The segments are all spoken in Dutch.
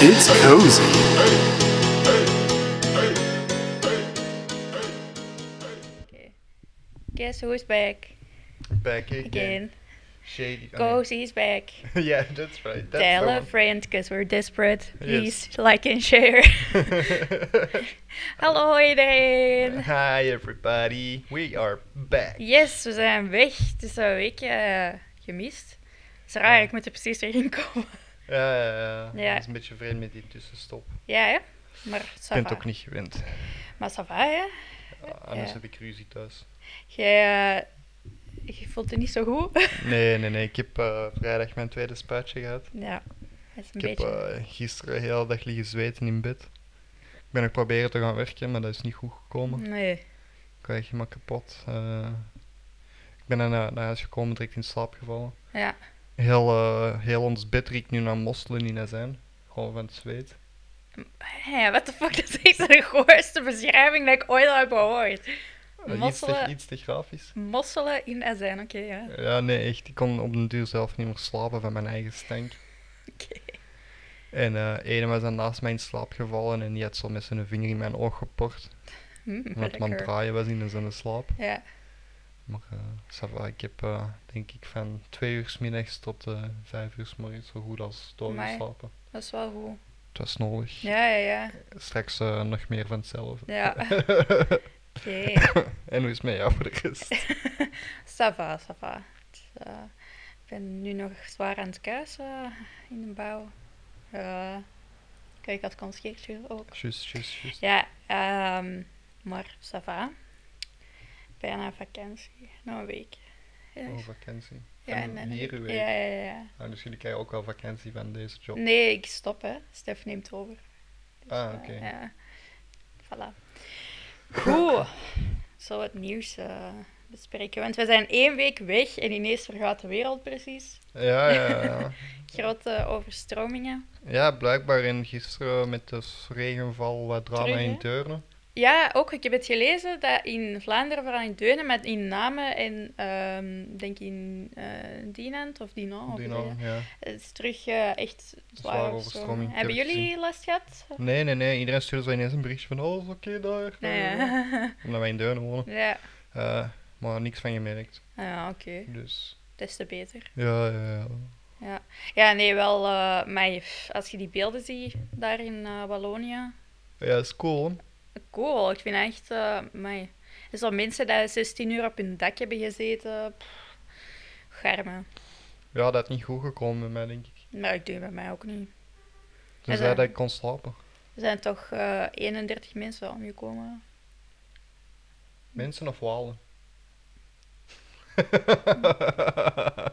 It's cozy. Okay. Guess who's back Back again. again? Shady. I mean- Cozy's back. yeah, that's right. That's Tell a the friend because we're desperate. Yes. Please like and share. Hallo one. iedereen! Hi everybody. We are back. Yes, we zijn weg. Dus Het is een weekje eh, gemist. Het is raar, Ja. ik moet er precies weer in komen. Ja, ja, Ja. ja. Dat Eh, is een beetje vreemd met die tussenstop. Ik Ja, hè? Maar ça ben va. het ook niet gewend. Maar ça va, hè? Ja, anders Ja. heb ik ruzie thuis. Jij eh, je voelt het niet zo goed. Nee, nee, nee. Ik heb eh, vrijdag mijn tweede spuitje gehad. ja, dat is een Ik heb beetje... eh, gisteren heel de dag liggen zweten in bed. Ik ben nog proberen te gaan werken, maar dat is niet goed gekomen. nee. Ik was echt helemaal kapot. eh. ik ben dan naar, naar huis gekomen, direct in slaap gevallen. Ja. Heel, eh, heel ons bed riekt nu naar mosselen in azijn. Gewoon van het zweet. Ja, what the fuck, dat is echt de goorste beschrijving dat ik ooit al heb gehoord. Eh, iets, te, Mosselen. iets te grafisch. Mosselen in azijn, oké, ja. Ja, nee, echt. Ik kon op den duur zelf niet meer slapen van mijn eigen stank. Oké. En eh ene was dan naast mij in slaap gevallen en die had zo met zijn vinger in mijn oog geport. Hm, Omdat het man lekker. draaien was in zijn slaap. Ja, Maar eh, ça va, ik heb eh, denk ik van twee uur 's middags tot eh vijf uur 's morgens zo goed als doorgeslapen. dat is wel goed. Het was nodig. Ja, ja, ja. Straks eh, nog meer van hetzelfde. Ja, oké. en hoe is het met jou voor de rest? Ça va, ça va. Het, eh, ik ben nu nog zwaar aan het kuisen in de bouw. Eh, kijk, dat conciertje ook. Juist, juist, juist. Ja, ehm, maar ça va. Bijna vakantie, nog een week. Ja, Oh, vakantie. ja, en en- hier uw week. Ja, Mm. ja, ja. Ah, dus jullie krijgen ook wel vakantie van deze job. Nee, ik stop, hè. Stef neemt over. Dus, Ah, eh, oké. ja. Voilà. Goed. Zo het nieuws eh, bespreken. Want we zijn één week weg en ineens vergaat de wereld precies. Ja, ja, ja. Grote overstromingen. ja, blijkbaar in gisteren met de regenval wat drama Terug, hè? in Deurne. Ja, ook, ik heb het gelezen dat in Vlaanderen, vooral in Deunen, maar in Namen en ehm, denk in eh Dinant of Dinan, of Die hoe zeg je nou, dat? ja. het is terug eh, echt Zware zwaar overstroming, overstroming. ik Hebben heb het jullie last gehad? Nee, nee, nee. Iedereen stuurde zo ineens een berichtje van alles oké daar. Eh, Nee. Ja, Omdat wij in Deurne wonen. ja. Eh, maar niks van gemerkt. ja oké. Dus Des te beter. ja, ja, ja. Ja, nee, wel. eh maar je- als je die beelden ziet daar in eh, Wallonië. Ja, is cool. hè? Cool, ik vind echt. eh amai. Er zijn mensen die 16 uur op hun dak hebben gezeten. Pff, garme. Ja, dat had niet goed gekomen bij mij, denk ik. Maar ik doe bij mij ook niet. Toen En, zei eh, dat ik kon slapen. Er zijn toch eh, 31 mensen omgekomen. Mensen of walen?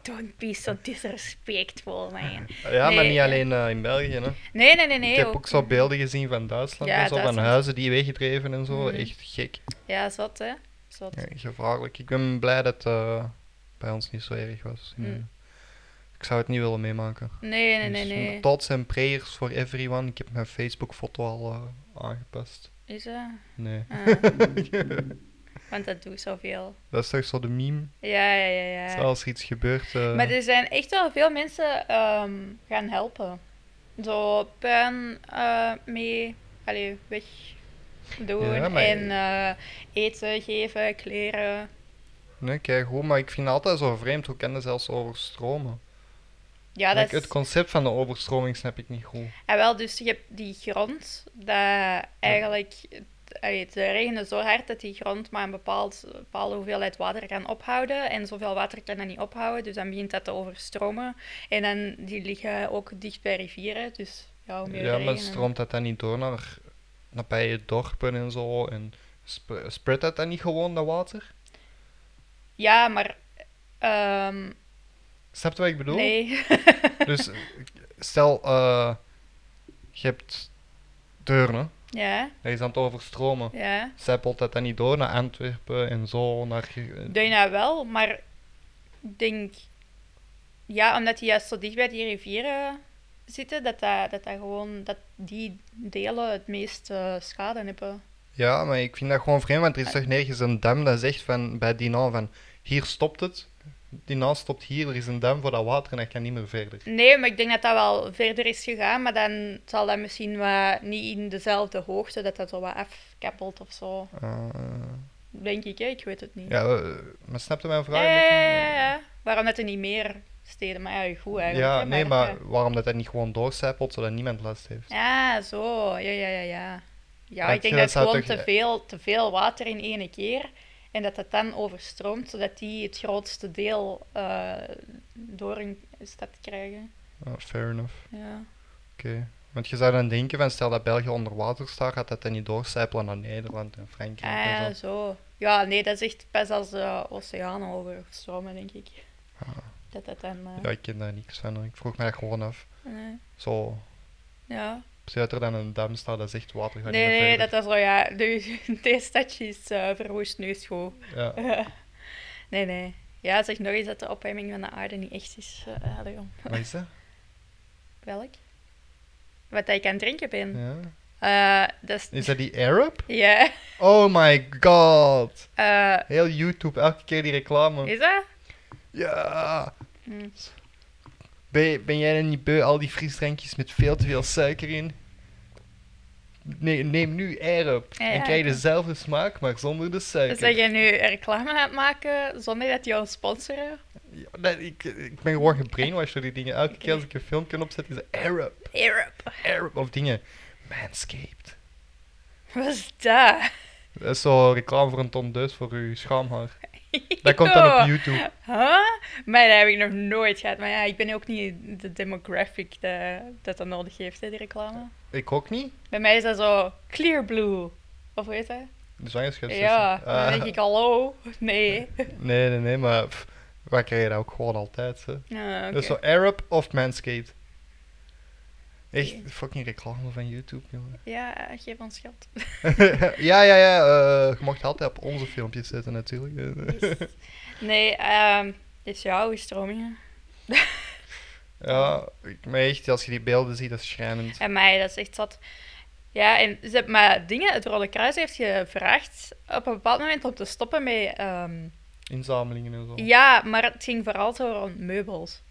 Don't be so disrespectful, man. Ja, maar Nee, niet ja. alleen eh, in België. Hè. Nee, nee, nee, nee. ik heb ook zo beelden gezien van Duitsland Ja, en zo, van Duitsland. huizen die weggedreven en zo. Mhm. Echt gek. Ja, zat, hè? Zat. Ja, gevaarlijk. Ik ben blij dat het eh, bij ons niet zo erg was. Mm. Ja. Ik zou het niet willen meemaken. Nee, nee, nee, Dus, nee. Thoughts and prayers for everyone. Ik heb mijn Facebook-foto al eh, aangepast. Is dat? Nee. Ah, want dat doet zoveel. Dat is toch zo de meme? Ja, ja, ja. ja. Zo, Als er iets gebeurt. eh, Maar er zijn echt wel veel mensen ehm, gaan helpen. Zo puin eh, mee, allee, weg doen Ja, maar- en eh, eten geven, kleren. Nee, kijk goed, maar ik vind het altijd zo vreemd. Hoe kan dat zelfs overstromen? Ja, dat Like, is... Het concept van de overstroming snap ik niet goed. En wel, dus je hebt die grond, dat eigenlijk... het- Allee, het regende zo hard dat die grond maar een bepaald, bepaalde hoeveelheid water kan ophouden. En zoveel water kan dat niet ophouden, dus dan begint dat te overstromen. En dan, die liggen ook dicht bij rivieren, dus ja, hoe meer Ja, maar regen- stroomt dat dan niet door naar, naar bij je dorpen en zo? En sp- spreadt dat dan niet gewoon dat water? Ja, maar. ehm, Snap je wat ik bedoel? nee. Dus eh, stel, eh, je hebt Deurne, ja, dat is aan het overstromen. ja. Zijpelt dat dan niet door naar Antwerpen en zo? Naar, ge- Doe je nou wel, maar ik denk. Ja, omdat die juist zo dicht bij die rivieren zitten, dat, dat, dat, dat, gewoon, dat die delen het meest eh, schade hebben. Ja, maar ik vind dat gewoon vreemd, want er is toch nergens een dam dat zegt van bij die naam van hier stopt het, die naald stopt hier, er is een dam voor dat water en hij kan niet meer verder. Nee, maar ik denk dat dat wel verder is gegaan, maar dan zal dat misschien wat niet in dezelfde hoogte, dat dat zo wat afkappelt of zo. Eh, Denk ik, hè? ik weet het niet. ja, eh, maar snapte mijn vraag? ja, ja, ja, ja, ja. Waarom dat er niet meer steden? Maar ja, goed eigenlijk. hè, nee, ja. maar waarom dat hij niet gewoon doorcijpelt zodat niemand last heeft? Ah, zo. Ja, ja, ja, ja. Ja, Maar ik denk dat dat het zou gewoon toch- te veel, te veel water in één keer. En dat het dan overstroomt, zodat die het grootste deel eh, door hun stad krijgen. Ah, fair enough. Ja. Oké. Want je zou dan denken van stel dat België onder water staat, gaat dat dan niet doorcijpelen naar Nederland en Frankrijk Ah, en zo. zo. Ja, nee, dat is echt best als de oceanen overstromen, denk ik. Ah. Dat dat dan... eh, Ja, ik ken daar niks van. hoor. Ik vroeg mij gewoon af. nee. Zo, Ja. zie dat er dan een dam staat dat zegt water gaat Nee, niet meer nee, dat verder. is wel ja. Nu, deze stadje is eh, verwoest, nu is goed. Ja. Nee, nee. Ja, zeg nog eens dat de opwarming van de aarde niet echt is, eh Leon. Wat is dat? Welk? Wat ik aan het drinken ben. Ja. Eh, dat is... Is dat die Arab? Ja. Oh my god! Eh, Heel YouTube, elke keer die reclame. is dat? Ja! Hm. Ben, ben jij dan niet beu al die frisdrankjes met veel te veel suiker in? Nee, neem nu Arab Ja, en krijg je ja. dezelfde smaak, maar zonder de suiker. Zeg Dus je nu reclame aan het maken zonder dat die ons sponsoren? Ja, nee, ik, ik ben gewoon gebrainwashed door die dingen. Elke keer als Oké. ik een filmpje opzet, is het Arab, Europe. Arab of dingen. Manscaped. Wat is dat? Dat is zo reclame voor een tondeus voor uw schaamhaar. Dat komt dan op Yo. YouTube. Huh? Maar dat heb ik nog nooit gehad. Maar ja, ik ben ook niet de demographic de- dat dat nodig heeft, hè, die reclame. Ik ook niet. Bij mij is dat zo clear blue. Of weet je? De zwangerschapsessie. Ja, Ah, dan denk ik hallo. Nee. Nee, nee, nee, maar pff, wij krijgen dat ook gewoon altijd. Hè. Ah, Dat is zo oké. Arab of Manscaped. Echt Oké. fucking reclame van YouTube, jongen. Ja, geef ons geld. ja, ja, ja. eh, je mocht altijd op onze filmpjes zetten, natuurlijk. Yes. Nee, ehm is jouw stromingen. ja, ik- maar echt, als je die beelden ziet, dat is schrijnend. En mij, dat is echt zat. Ja, en ze hebben maar dingen. Het Rode Kruis heeft gevraagd op een bepaald moment om te stoppen met. ehm, Inzamelingen en zo. ja, maar het ging vooral zo rond meubels.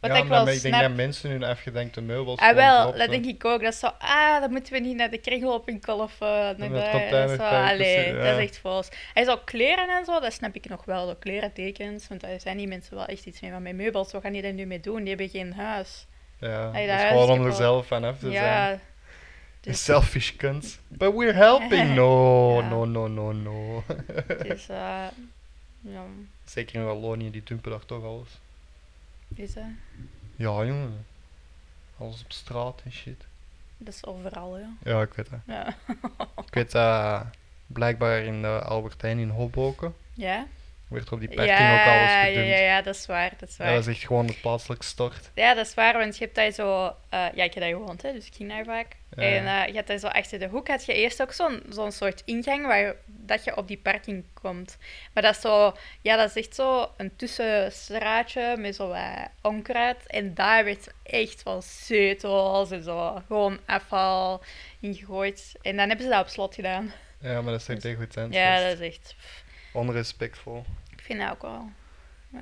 Wat Ja, ik maar wel ik snap. denk dat mensen hun afgedankte meubels Ah, gewoon wel, dropten. dat denk ik ook. Dat is zo, ah, dan moeten we niet naar de kringloopwinkel of eh, naar het de... dat is zo, containerpark, allee, dus, eh, dat ja. is echt vals. En zo kleren en zo, dat snap ik nog wel. De klerentekens, want daar zijn die mensen wel echt iets mee. Maar met meubels, wat gaan die daar nu mee doen? Die hebben geen huis. Ja, Hey, dat Ah, is daar gewoon is om het er al. zelf van af te zijn. Ja. Dus, Selfish cunts. But we're helping. No, Ja. no, no, no, no. het is, eh, ja, Zeker in Wallonië, die dumpen daar toch alles. is, eh, Ja, jongen. Alles op straat en shit. dat is overal, ja. Ja, ik weet dat. Ja? Ik weet dat blijkbaar in de Albertijn in Hoboken Ja, werd er op die ja, parking ook alles ja, gedumpt. ja, ja, dat is waar, dat is Ja, waar. dat is echt gewoon het plaatselijk stort. Ja, dat is waar, want je hebt daar zo... eh, ja, ik heb daar gewoond, hè, dus ik ging daar vaak. Ja. En eh, je had daar zo achter de hoek, had je eerst ook zo'n zo'n soort ingang waar dat je op die parking komt. Maar dat is zo... Ja, dat is echt zo een tussenstraatje met zo wat onkruid. En daar werd echt van zetels en zo gewoon afval ingegooid. En dan hebben ze dat op slot gedaan. Ja, maar dat is echt Dus- egoïstisch. Ja, dat is echt... pff, Onrespectvol. Ik vind dat ook wel... ja.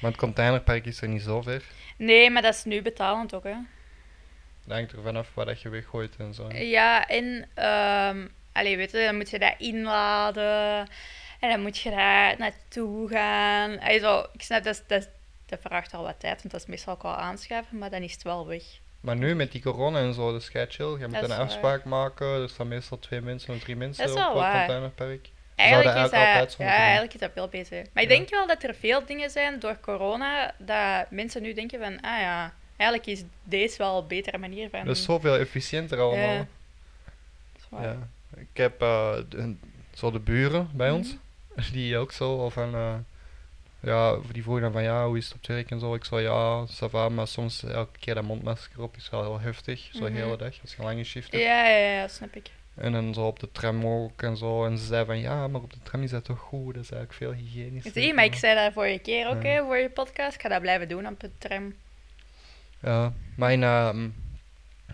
Maar het containerpark is er niet zo ver. Nee, maar dat is nu betalend ook, hè. Dat hangt er vanaf waar dat je weggooit en zo. Ja, en ehm allee, weet je, dan moet je dat inladen en dan moet je daar naartoe gaan. Allee, zo, ik snap, dat, is- dat, is- dat vraagt al wat tijd, want dat is meestal ook al aanschaffen, maar dan is het wel weg. Maar nu met die corona en zo, dat is kei chill. Je moet Dat een is waar. afspraak maken. Er staan meestal twee mensen of drie mensen is op wel het waar. containerpark. Eigenlijk is, Zouden eigenlijk dat, altijd zo ja, moeten doen. eigenlijk is dat veel beter. Maar ik Ja. denk wel dat er veel dingen zijn door corona dat mensen nu denken van, ah ja, eigenlijk is deze wel een betere manier van... Dat is zoveel efficiënter allemaal. Ja. Dat is waar. Ja. Ik heb eh, d- een- zo de buren bij ons, Mhm. die ook zo al van, eh, ja, die vroegen dan van ja, hoe is het op het werk en zo. Ik zei ja, ça va, maar soms elke keer dat mondmasker op is wel heel heftig, zo Mhm. de hele dag, als je een lange shift hebt. Ja, ja, ja, snap ik. En dan zo op de tram ook en zo. En ze zei van ja, maar op de tram is dat toch goed, dat is eigenlijk veel hygiënischer. Zie, maar ik zei dat vorige keer ook, Ja. hè, voor je podcast. Ik ga dat blijven doen op het tram. Ja, mijn, ehm,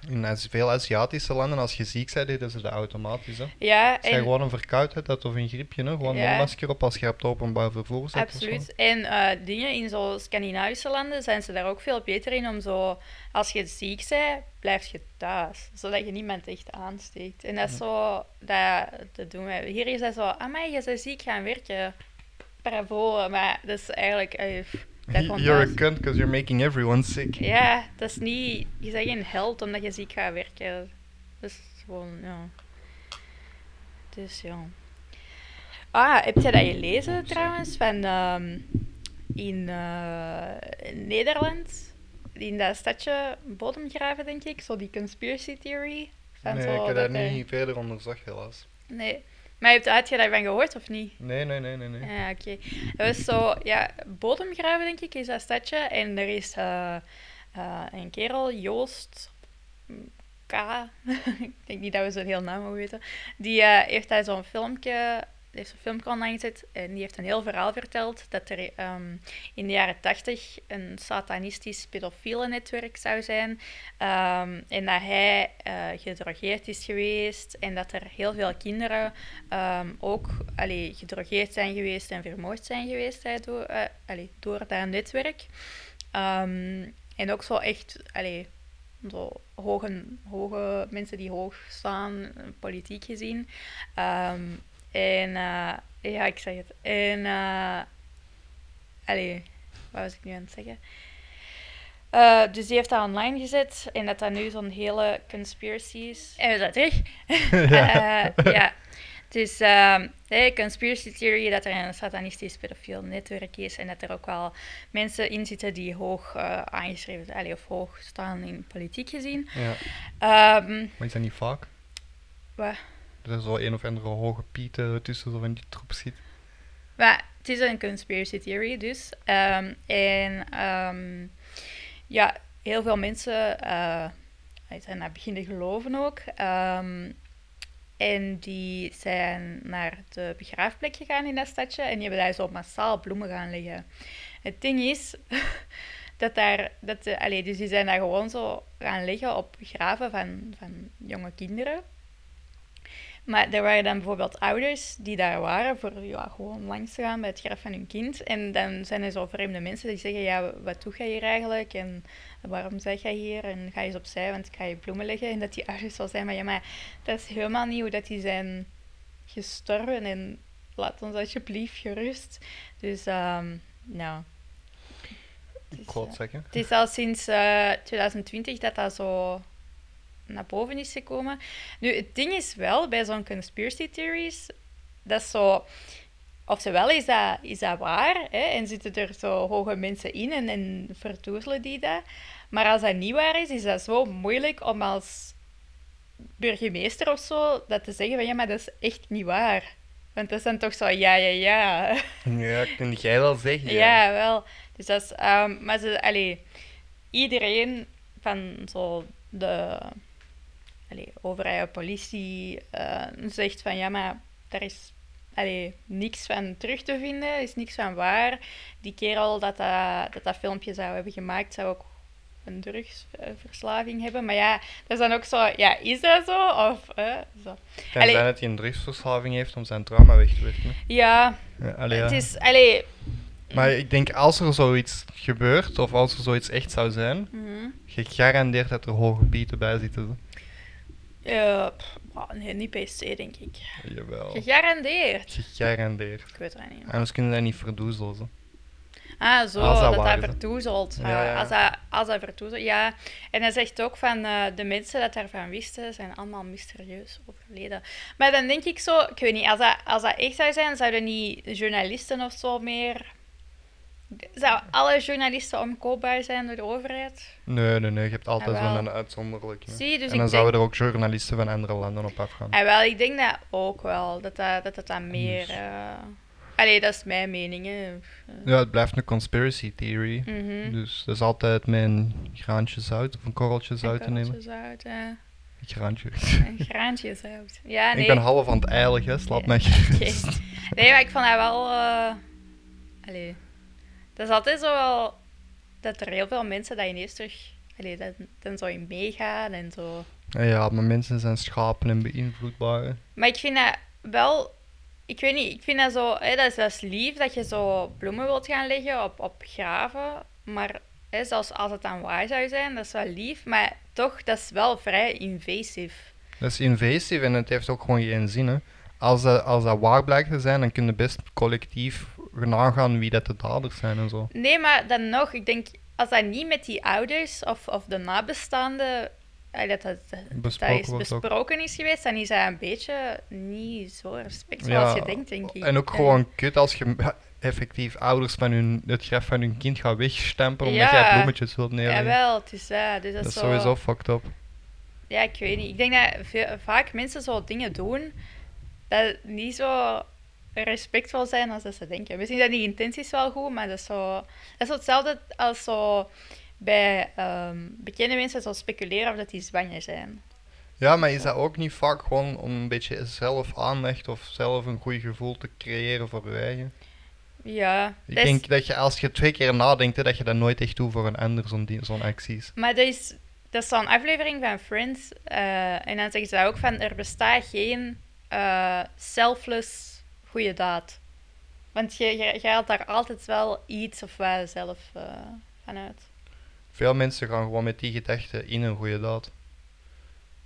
In Azi- veel Aziatische landen, als je ziek bent, deden ze dat automatisch. Hè. Ja, Als je en gewoon een verkoudheid hebt of een griepje, hè, gewoon Ja. een masker op als je op het openbaar vervoer zit. of zo. Absoluut. En eh, dingen in zo'n Scandinavische landen zijn ze daar ook veel beter in om zo, als je ziek bent, blijf je thuis. Zodat je niemand echt aansteekt. En dat is zo, dat, dat doen wij. Hier is dat zo, amai, je bent ziek gaan werken. Bravo, maar dat is eigenlijk... eh, pff, dat Y- komt You're a thuis. cunt because you're making everyone sick. Ja, dat is niet... Je bent geen held omdat je ziek gaat werken. Dat is gewoon, ja... Dus ja... Ah, heb jij dat gelezen trouwens? Van ehm, in eh, in Nederland, in dat stadje Bodemgraven, denk ik, zo die conspiracy theory. Van Nee, zo ik heb dat dat er- niet verder onderzocht, helaas. Nee. Maar heb, had je daarvan gehoord of niet? Nee, nee, nee, nee. nee. Ja, oké. Dat was zo, ja, Bodemgraven, denk ik, is dat stadje. En er is eh, eh, een kerel, Joost K. ik denk niet dat we zijn heel naam mogen weten. Die eh, heeft daar zo'n filmpje, heeft zo'n filmpje online gezet. En die heeft een heel verhaal verteld dat er ehm, in de jaren tachtig een satanistisch pedofiele netwerk zou zijn. Ehm, en dat hij eh, gedrogeerd is geweest. En dat er heel veel kinderen ehm, ook allee, gedrogeerd zijn geweest en vermoord zijn geweest daardoor, eh, allee, door dat netwerk. Ehm, en ook zo echt allee, zo hoge, hoge mensen die hoog staan, eh, politiek gezien. Ehm, en eh, ja, ik zeg het. En eh, allee, wat was ik nu aan het zeggen? Eh, dus die heeft dat online gezet en dat dat nu zo'n hele conspiracy is. En we zijn terug. Ja. Eh, ja. Dus ehm hey, conspiracy theory dat er een satanistisch pedofiel netwerk is en dat er ook wel mensen in zitten die hoog eh, aangeschreven zijn, allee, of hoog staan in politiek gezien. Ja. Ehm, Maar is dat niet vaak? Wat? Er is wel een of andere hoge pieten tussen zo van die troep zit. Maar het is een conspiracy theory dus. Ehm, en ehm, ja, heel veel mensen eh, die zijn daar beginnen geloven ook. Ehm, en die zijn naar de begraafplek gegaan in dat stadje. En die hebben daar zo massaal bloemen gaan leggen. Het ding is dat daar... Dat de, allee, dus die zijn daar gewoon zo gaan liggen op graven van, van jonge kinderen. Maar er waren dan bijvoorbeeld ouders die daar waren voor ja, gewoon langs te gaan bij het graf van hun kind. En dan zijn er zo vreemde mensen die zeggen, ja, wat doe jij hier eigenlijk? En waarom zeg jij hier? En ga je eens opzij, want ik ga je bloemen leggen. En dat die ouders zo zijn, maar ja, maar dat is helemaal niet hoe dat die zijn gestorven. En laat ons alsjeblieft gerust. Dus, ehm, nou... Het Ik is, wou eh, het zeggen. het is al sinds eh, 2020 dat dat zo naar boven is gekomen. Nu, het ding is wel, bij zo'n conspiracy theories, dat is zo... Oftewel is dat, is dat waar, hè? en zitten er zo hoge mensen in en, en verdoezelen die dat. Maar als dat niet waar is, is dat zo moeilijk om als burgemeester of zo dat te zeggen van ja, maar dat is echt niet waar. Want dat is dan toch zo ja, ja, ja. Ja, kun jij wel zeggen. Ja, wel. Dus dat is, ehm, maar ze, allee, iedereen van zo de allee, overheid, politie, eh, zegt van ja, maar daar is allee, niks van terug te vinden, is niks van waar. Die kerel dat dat, dat, dat filmpje zou hebben gemaakt, zou ook een drugsverslaving hebben. Maar ja, dat is dan ook zo, ja, is dat zo? Of, eh, zo. Kan Allee. zijn dat hij een drugsverslaving heeft om zijn trauma weg te werken. Ja, Ja, allee, het ja. is, allee... Maar ik denk als er zoiets gebeurt, of als er zoiets echt zou zijn, mhm. gegarandeerd dat er hoge pieten bij zitten. Eh, pff, bah, nee, niet per se, denk ik. Jawel. Gegarandeerd. Gegarandeerd. Ik weet het niet. Anders kunnen ze dat niet verdoezelen. zo. Ah, zo, Als dat dat waar dat is, hè. vertoezelt. Ah, Ja, ja, ja. Als dat, als dat vertoezelt, ja. En hij zegt ook van, eh, de mensen dat daarvan wisten, zijn allemaal mysterieus overleden. Maar dan denk ik zo, ik weet niet, als dat, als dat echt zou zijn, zouden niet journalisten of zo meer... Zou alle journalisten omkoopbaar zijn door de overheid? Nee, nee, nee. Je hebt altijd Jawel. wel een uitzonderlijke. Ah, Zie, dus en dan ik zouden denk... er ook journalisten van andere landen op afgaan. Ah, wel, ik denk dat ook wel. Dat dat, dat, dat dan meer... dus- eh, Allee, dat is mijn mening, hè. Ja, het blijft een conspiracy theory. Mhm. Dus dat is altijd met een graantje zout of een korreltje zout te Een nemen. korreltje zout, ja. Een graantje. Een graantje zout. Ja, nee. Ik ben half aan het eilig, hè. Slaat Ja. mij gerust. Oké. Nee, maar ik vond dat wel... eh, Allee. Dat is altijd zo wel... Dat er heel veel mensen dat ineens terug Allee, dan, dan zou je meegaan en zo. Ja, maar mensen zijn schapen en beïnvloedbaar. Maar ik vind dat wel... Ik weet niet, ik vind dat zo... Hè, dat is best lief dat je zo bloemen wilt gaan leggen op, op graven. Maar hè, zelfs als het dan waar zou zijn, dat is wel lief. Maar toch, dat is wel vrij invasief. Dat is invasief en het heeft ook gewoon geen zin. Hè. Als, dat, als dat waar blijkt te zijn, dan kun je best collectief nagaan wie dat de daders zijn en zo. Nee, maar dan nog, ik denk... Als dat niet met die ouders of, of de nabestaanden... allee, Dat, dat, dat Besproken is wordt ook. besproken is geweest, dan is dat een beetje niet zo respectvol Ja, als je denkt, denk ik. En ook gewoon kut als je effectief ouders van hun, het graf van hun kind gaat wegstempen omdat Ja. jij bloemetjes wilt neerleggen. Jawel, het is dat. Dus dat, dat is zo- sowieso fucked up. Ja, ik weet niet. Ik denk dat veel, vaak mensen zo dingen doen dat niet zo respectvol zijn als dat ze denken. Misschien zijn die intenties wel goed, maar dat is zo... Dat is zo hetzelfde als zo bij ehm, bekende mensen zo speculeren of dat die zwanger zijn. Ja, maar is dat ook niet vaak gewoon om een beetje zelf aandacht of zelf een goed gevoel te creëren voor je eigen? Ja, Ik dat is- denk dat je als je twee keer nadenkt, hè, dat je dat nooit echt doet voor een ander, zo'n di- zo'n acties. Maar dat is, dat is zo'n aflevering van Friends. eh, en dan zeggen ze ook van, er bestaat geen eh, selfless goede daad. Want je, je, je haalt daar altijd wel iets of wat zelf eh, van uit. Veel mensen gaan gewoon met die gedachte in een goede daad.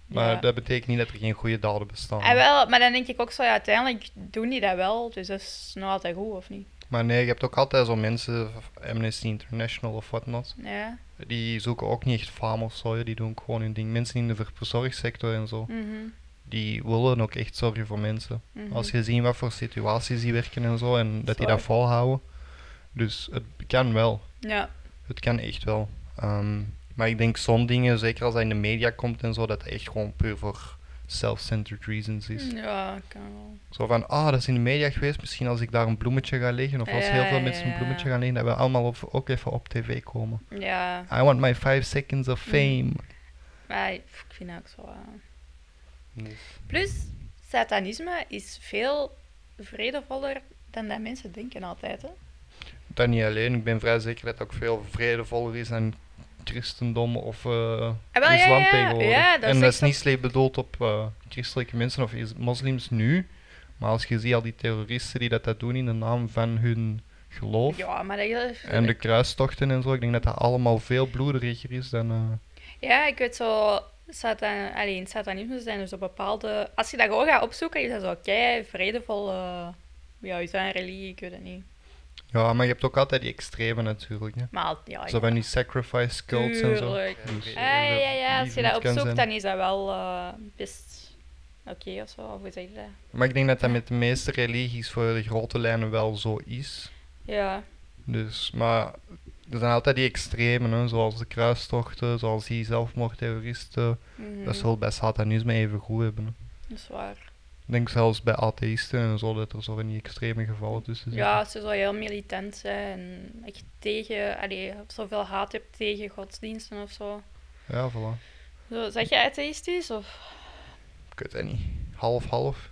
Maar Ja. dat betekent niet dat er geen goede daden bestaan. Ah, wel, maar dan denk ik ook zo, ja, uiteindelijk doen die dat wel. Dus dat is nou altijd goed, of niet? Maar nee, je hebt ook altijd zo'n mensen, of Amnesty International of whatnot, Ja. die zoeken ook niet echt faam of zo. hè, Die doen ook gewoon hun ding. Mensen in de ver- verzorgingssector en zo, Mhm, die willen ook echt zorgen voor mensen. mhm. Als je ziet wat voor situaties die werken en zo, en dat die dat Zwaar. volhouden. Dus het kan wel. Ja. Het kan echt wel. Ehm, maar ik denk sommige dingen, zeker als dat in de media komt en zo, dat het echt gewoon puur voor self-centered reasons is. Ja, kan wel. Zo van, ah, dat is in de media geweest, misschien als ik daar een bloemetje ga leggen, of als Ja, heel veel ja, mensen een ja. bloemetje gaan leggen, dat we allemaal op- ook even op tv komen. Ja, I want my five seconds of Mm. fame. maar ik vind dat ook zo... eh, Nee. Plus, satanisme is veel vredevoller dan dat mensen denken altijd. Hè? Dat niet alleen, ik ben vrij zeker dat het ook veel vredevoller is dan christendom of eh, Ah, wel, ja, ja, islam ja. tegenwoordig. Ja, dat is en dat echt is zo- niet slecht bedoeld op eh, christelijke mensen of is- moslims nu, maar als je ziet al die terroristen die dat, dat doen in de naam van hun geloof Ja, maar dat en de kruistochten en zo, ik denk dat dat allemaal veel bloederiger is dan... eh, Ja, ik weet zo... Satan... Allee, in satanisme zijn er zo bepaalde... Als je dat gewoon gaat opzoeken, is dat zo kei vredevol... eh, Ja, is dat een religie? Ik weet het niet. ja, maar je hebt ook altijd die extreme natuurlijk, hè. Maar ja, Zo Ah, ja. van die sacrifice cults en zo. Tuurlijk. Dus, Ah, ja, ja, ja, die als je niet dat kan opzoekt, zijn. dan is dat wel eh, best oké of zo. Of hoe zeg je dat? Maar ik denk dat dat met de meeste religies voor de grote lijnen wel zo is. Ja. Dus, maar er zijn altijd die extremen, hè, zoals de kruistochten, zoals die zelfmoordterroristen. mhm, Dat zal bij satanisme even goed hebben. hè. dat is waar. Ik denk zelfs bij atheïsten en zo dat er zo van die extreme gevallen tussen zitten. Ja, als je zo heel militant zijn en echt tegen, allee, zoveel haat hebt tegen godsdiensten of zo. Ja, voilà. zo zeg je atheïstisch of, Ik weet het niet. Half, half.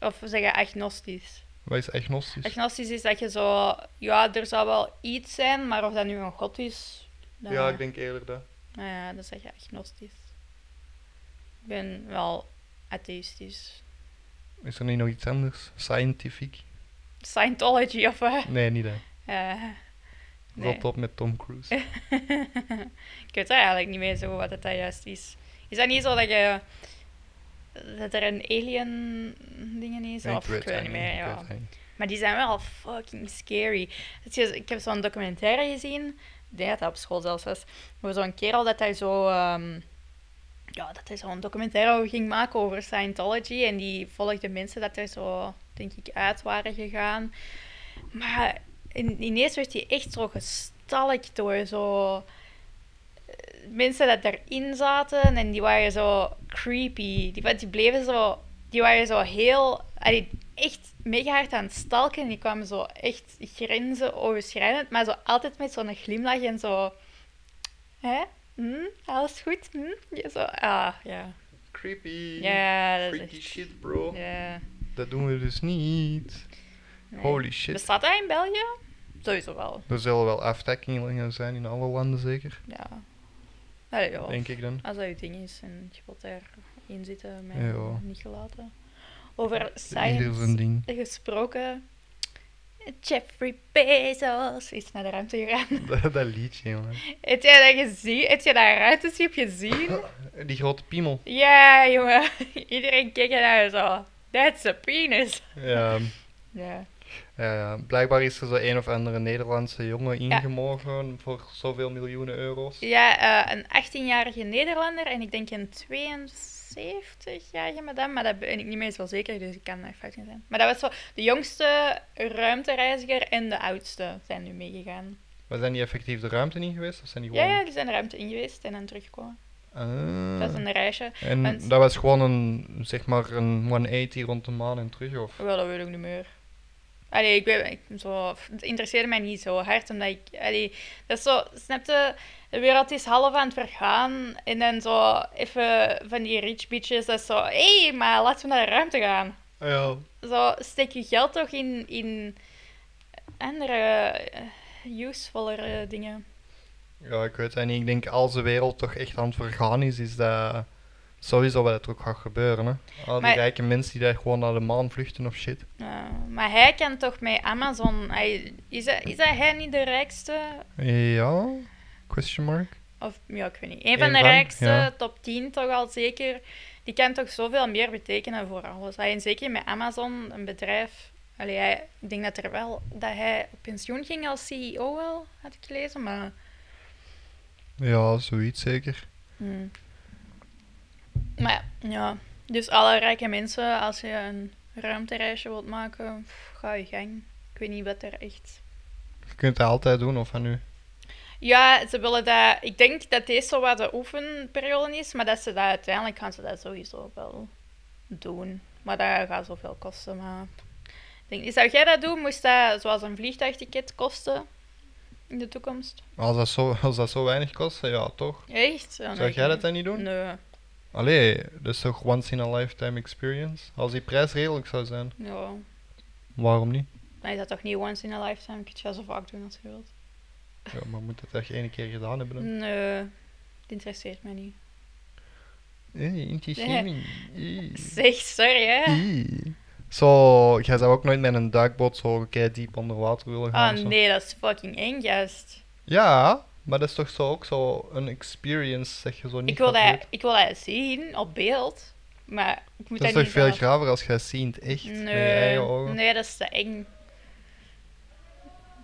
of zeg je agnostisch? Wat is agnostisch? Agnostisch is dat je zo, ja, er zal wel iets zijn, maar of dat nu een god is. dat- Ja, ik denk eerder dat. Nou ja, dan zeg je agnostisch. Ik ben wel atheïstisch. Is er niet nog iets anders? Scientific? Scientology of eh, Nee, niet dat. eh, nee. Rot op met Tom Cruise. ik weet eigenlijk niet meer zo goed wat het daar juist is. Is dat niet zo dat je. dat er een alien dingen is? Nee, Of ik weet het niet meer. ik Ja. weet het niet. Maar die zijn wel fucking scary. Het is- Ik heb zo'n documentaire gezien, ik denk dat dat op school zelfs was, over zo'n kerel dat hij zo... ehm, ja, dat hij zo'n documentaire over ging maken over Scientology. En die volgde mensen dat er zo, denk ik, uit waren gegaan. Maar in, ineens werd hij echt zo gestalkt door zo... eh, Mensen dat daarin zaten en die waren zo creepy. Die, want die bleven zo... Die waren zo heel... allee, echt mega hard aan het stalken. En die kwamen zo echt grenzen overschrijdend. Maar zo altijd met zo'n glimlach en zo... Hè? Hm? Alles goed? Hm? Ja, zo... Ah, ja. Creepy. Ja, dat is Freaky echt- shit, bro. Ja. Dat doen we dus niet. nee. Holy shit. Bestaat dat in België? Sowieso wel, Er zullen wel aftakkingen zijn in alle landen zeker. ja. Allee, ja. denk ik dan. Als dat je ding is en je wilt daarin zitten, mij Ja. niet gelaten. Over Ieder zijn science ding. gesproken. Jeffrey Bezos is naar de ruimte gegaan. dat, dat liedje, man. Heb jij dat gezien? Heb je dat ruimteschip gezien? Die grote piemel. Ja, jongen. Iedereen keek naar zo. That's a penis. Ja, Ja. ja, ja. Ehm, eh, blijkbaar is er zo een of andere Nederlandse jongen ingemogen voor zoveel miljoenen euro's. Ja, eh, een 18-jarige Nederlander en ik denk een 72-jarige madame, maar dat ben ik niet meer zo zeker, dus ik kan echt fout in zijn. Maar dat was zo, de jongste ruimtereiziger en de oudste zijn nu meegegaan. Maar zijn die effectief de ruimte in geweest? Of zijn die Ja, gewoon... ja, die zijn de ruimte in geweest en dan teruggekomen. Ah. Dat is een reisje. En want- dat was gewoon een, zeg maar, een 180 rond de maan en terug, of? Wel, dat weet ik niet meer. Allee, ik weet ik, zo, het interesseerde mij niet zo hard, omdat ik, allee, dat is zo, snapte, de wereld is half aan het vergaan, en dan zo, even van die rich bitches, dat is zo, hé, hey, maar laten we naar de ruimte gaan. Ah, Ja. zo, steek je geld toch in, in andere eh, usevollere dingen. Ja, ik weet het niet. Ik denk, als de wereld toch echt aan het vergaan is, is dat sowieso wat er ook gaat gebeuren, hè. Al die Maar- rijke mensen die daar gewoon naar de maan vluchten of shit. Ja, Eh, maar hij kan toch met Amazon. Hij, is, hij, is hij- hij niet de rijkste? Ja? Question mark? Of ja, ik weet niet. Een van Eén de van, rijkste, ja. top 10 toch al zeker. Die kan toch zoveel meer betekenen voor alles. Hij, en zeker met Amazon, een bedrijf. Allee, hij, ik denk dat er wel dat hij op pensioen ging als CEO wel, had ik gelezen, maar. Ja, zoiets zeker. Hmm. Maar ja, dus alle rijke mensen, als je een ruimtereisje wilt maken, pff, ga je gang. Ik weet niet wat er echt. Je kunt dat altijd doen, of van nu? Ja, ze willen dat. Ik denk dat deze zo wat de oefenperiode is, maar dat ze dat uiteindelijk gaan ze dat sowieso wel doen. Maar dat gaat zoveel kosten. Maar ik denk, zou jij dat doen? Moest dat zoals een vliegtuigticket kosten in de toekomst? Als dat zo, als dat zo weinig kost, ja, toch? Echt? Ja, nee, Zou ik jij dat niet. dan niet doen? Nee. Allee, dat is toch once in a lifetime experience? Als die prijs redelijk zou zijn, Ja. waarom niet? Dan is dat toch niet once in a lifetime? Kun je dat zo vaak doen als je wilt. Ja, maar moet dat echt één keer gedaan hebben? dan? Nee, het interesseert mij niet. Nee, intichemie. Ie. Zeg, sorry hè. Ie. Zo, jij zou ook nooit met een duikboot zo kei diep onder water willen gaan. Oh of zo. nee, dat is fucking eng, gast. Ja, maar dat is toch zo ook zo een experience, zeg je zo niet. Ik wil, gaat dat, ik wil dat zien op beeld, maar ik moet doen. Dat dat, is toch niet veel zelf- graver als jij ziet, echt, oh. met je Nee, eigen ogen. nee, dat is te eng.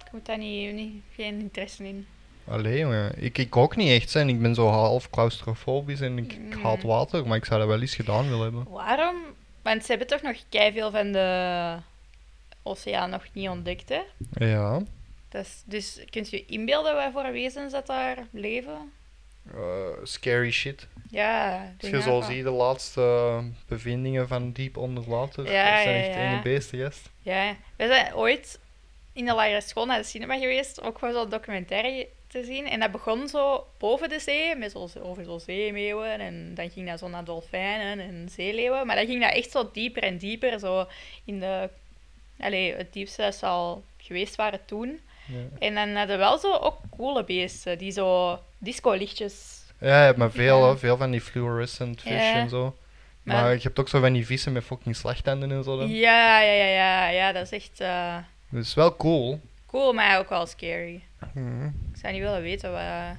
Ik moet daar niet, niet, geen interesse in. Allee, jongen. Ik, ik ook niet echt, zijn. ik ben zo half claustrofobisch en ik, ik haat Mm. water, maar ik zou dat wel eens gedaan willen hebben. Waarom? Want ze hebben toch nog veel van de oceaan nog niet ontdekt, hè? Ja. Dat is, dus kunt je je inbeelden wat voor wezens dat daar leven? Eh, scary shit. Ja, ik Als denk je zo daarvan. ziet, de laatste bevindingen van diep onder water, Ja, dat zijn ja, echt ja. ene beesten, gast. Ja, we zijn ooit in de lagere school naar de cinema geweest, ook voor zo'n documentaire te zien. En dat begon zo boven de zee, met zo, over zo'n zeemeeuwen. En dan ging dat zo naar dolfijnen en zeeleeuwen. Maar dan ging dat echt zo dieper en dieper, zo in de... Allee, het diepste dat ze al geweest waren toen. Ja. En dan hadden we wel zo ook coole beesten, die zo disco-lichtjes... Ja, je hebt maar veel, Ja. hoor. veel van die fluorescent fish Ja. en zo. Maar- Maar, je hebt ook zo van die vissen met fucking slagtanden en zo. Dan. Ja, ja, ja, ja, ja, dat is echt eh, Dat is wel cool. cool, maar ook wel scary. Mhm. Ik zou niet willen weten wat,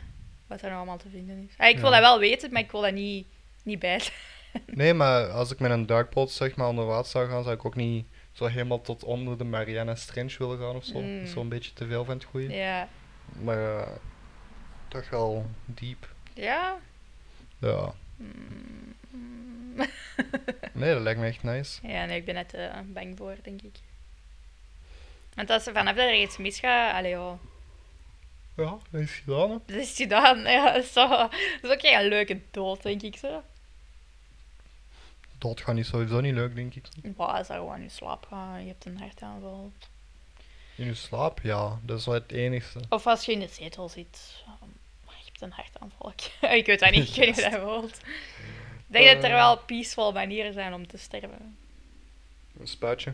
wat er nou allemaal te vinden is. Ah, ik wil Ja. dat wel weten, maar ik wil dat niet, niet bij. Nee, maar als ik met een duikboot zeg maar onder water zou gaan, zou ik ook niet zo helemaal tot onder de Marianas Trench willen gaan of zo. Mm. Dat is Zo'n beetje te veel van het goede. Ja. Maar eh, toch wel diep. Ja. Ja. Mm. Nee, dat lijkt me echt nice. ja, nee, ik ben net eh, bang voor, denk ik. Want als er vanaf dat er iets misgaat, allee joh, Ja, dat is gedaan. Hè. dat is gedaan. Ja, dat is zo, dat is ook geen leuke dood, denk ik zo. Dat gaat niet sowieso niet leuk, denk ik. Wow, als er gewoon in slaap gaan, je hebt een hartaanval. In je slaap, ja, dat is wel het enigste. Of als je in de zetel zit, um, je hebt een hartaanval. ik weet dat niet, ik weet niet hoe dat voelt. Ik denk dat er Eh. wel peaceful manieren zijn om te sterven. Een spuitje.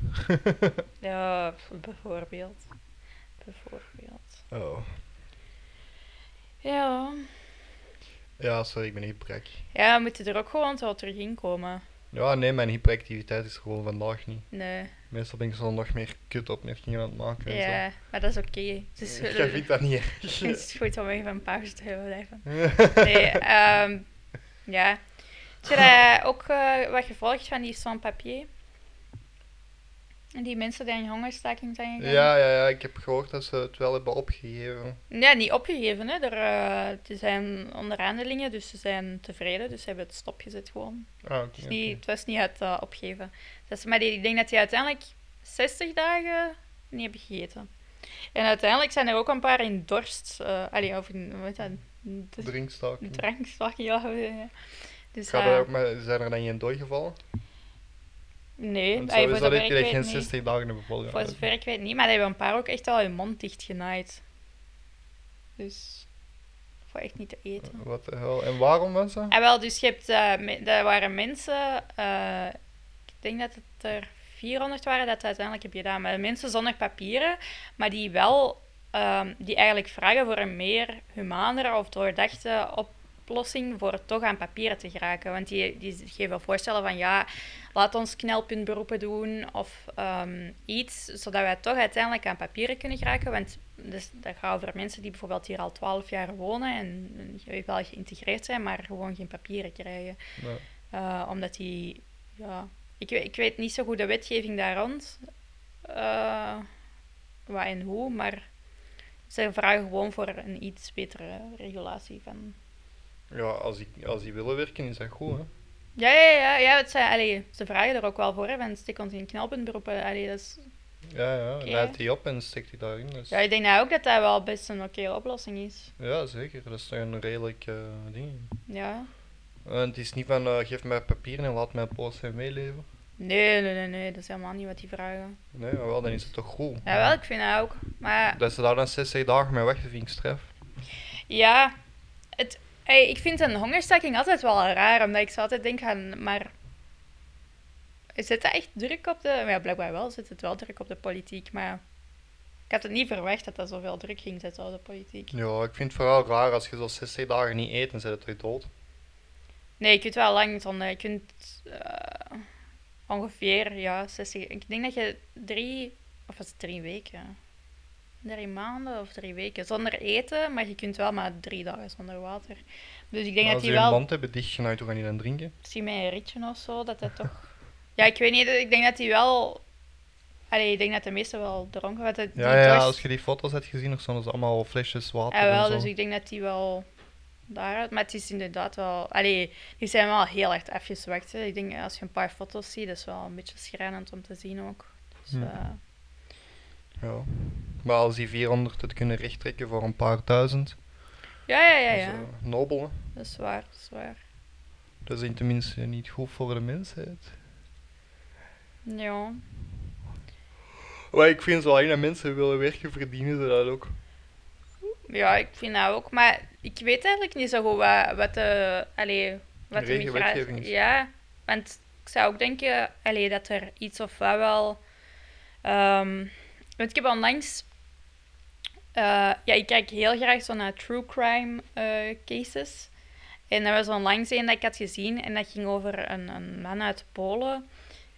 Ja, bijvoorbeeld. Bijvoorbeeld. Oh. Ja. Ja, sorry, ik ben hyperactief. Ja, we moeten er ook gewoon zo terug in komen. Ja, nee, mijn hyperactiviteit is er gewoon vandaag niet. Nee. Meestal ben ik zo nog meer kutopmerkingen aan het maken. En Ja, maar dat is oké. Het is, zo. Jij vindt dat niet erg. het is goed om even een pauze te hebben blijven. Nee, ehm, ja. Heb je daar ook eh, wat gevolgd van die sans-papier? En Die mensen die in hongerstaking zijn gegaan? ja, ja, ja, ik heb gehoord dat ze het wel hebben opgegeven. Ja, niet opgegeven. Hè. Er, eh, er zijn onderhandelingen, dus ze zijn tevreden. Dus ze hebben het stopgezet gewoon. Ah, oké. Het, is oké. niet, het was niet uit eh, opgeven. Dat is, maar die, ik denk dat die uiteindelijk 60 dagen niet hebben gegeten. En uiteindelijk zijn er ook een paar in dorst. eh allee, of in, hoe heet dat? De- Drinkstaking. Drankslakken, ja. eh, Dus, Gaat eh, er ook maar, zijn er dan geen doodgevallen? nee, Want allee, zo voor is dat zover ik ik direct weet geen niet. 60 dagen in bevolking. Voor zover ik weet niet, maar die hebben een paar ook echt al hun mond dicht genaaid. Dus, voor echt niet te eten. Eh, Wat de hel? En waarom was dat? Ah, wel, dus je hebt, eh, me- daar waren mensen, eh, ik denk dat het er 400 waren dat het uiteindelijk heb je gedaan, maar mensen zonder papieren, maar die wel, ehm, die eigenlijk vragen voor een meer humanere of doordachte oplossing voor toch aan papieren te geraken. Want die, die geven wel voorstellen van ja, laat ons knelpuntberoepen doen of ehm, iets, zodat wij toch uiteindelijk aan papieren kunnen geraken. Want dus, dat gaat over mensen die bijvoorbeeld hier al 12 jaar wonen en eh, wel geïntegreerd zijn, maar gewoon geen papieren krijgen. Nou, Eh, omdat die, ja, ik, we- ik weet niet zo goed de wetgeving daar rond, eh, wat en hoe, maar ze vragen gewoon voor een iets betere regulatie van ja, als die, als die willen werken is dat goed, hè? Ja, ja, ja, ja het zijn, allee, ze vragen er ook wel voor, hè, want stik ons in knelpuntberoepen. Allee, dat is, Ja, ja. Oké. Laat die op en steekt die daarin. Dus. ja, ik denk nou ook dat dat wel best een oké oplossing is. Ja, zeker. Dat is toch een redelijk eh, ding. Ja. Eh, het is niet van eh, geef mij papieren en laat mij post en meeleven. Nee, nee, nee, nee, dat is helemaal niet wat die vragen. Nee, maar wel, dan is het toch goed. Jawel, ik vind dat ook. Maar Dat ze daar dan 60 dagen mee weg vind ik stref. ja, het, ey, ik vind een hongerstaking altijd wel raar, omdat ik zo altijd denk aan, maar... Zit dat echt druk op de... Ja, blijkbaar wel zit het wel druk op de politiek, maar... Ik had het niet verwacht dat dat zoveel druk ging zetten op de politiek. Ja, ik vind het vooral raar als je zo 60 dagen niet eet, dan zit het toch dood. Nee, je kunt wel lang zonder. Je kunt eh, ongeveer, ja, 60. Ik denk dat je drie, of was het drie weken? Drie maanden of drie weken zonder eten, maar je kunt wel maar drie dagen zonder water. Dus ik denk Maar dat als die je een wel, mand hebben dichtgenaaid, hoe gaan die dan drinken? misschien met een ritje of zo, dat dat toch. Ja, ik weet niet, ik denk dat die wel. Allee, ik denk dat de meesten wel dronken want het- Ja, die ja, dorst- als je die foto's hebt gezien, er stonden ze allemaal flesjes water Ja, wel, en dus zo. ik denk dat die wel daaruit. Maar het is inderdaad wel. Allee, die zijn wel heel hard afgezwakt. Hè. Ik denk als je een paar foto's ziet, dat is wel een beetje schrijnend om te zien ook. Dus, Hm. eh, Ja. Maar als die 400 het kunnen rechttrekken voor een paar duizend, ja, ja, ja, dat is ja. eh, nobel. hè. Dat is waar, dat is waar. Dat is tenminste niet goed voor de mensheid. Ja. Maar ik vind zo alleen dat mensen willen werken, verdienen ze dat ook. ja, ik vind dat ook. Maar ik weet eigenlijk niet zo goed wat, wat de. Allee, wat de Regen- wetgeving migratie. is. Ja, want ik zou ook denken allee, dat er iets of wat wel. ehm, want ik heb onlangs. eh, ja, ik kijk heel graag zo naar true crime eh, cases. En er was onlangs een dat ik had gezien en dat ging over een, een man uit Polen.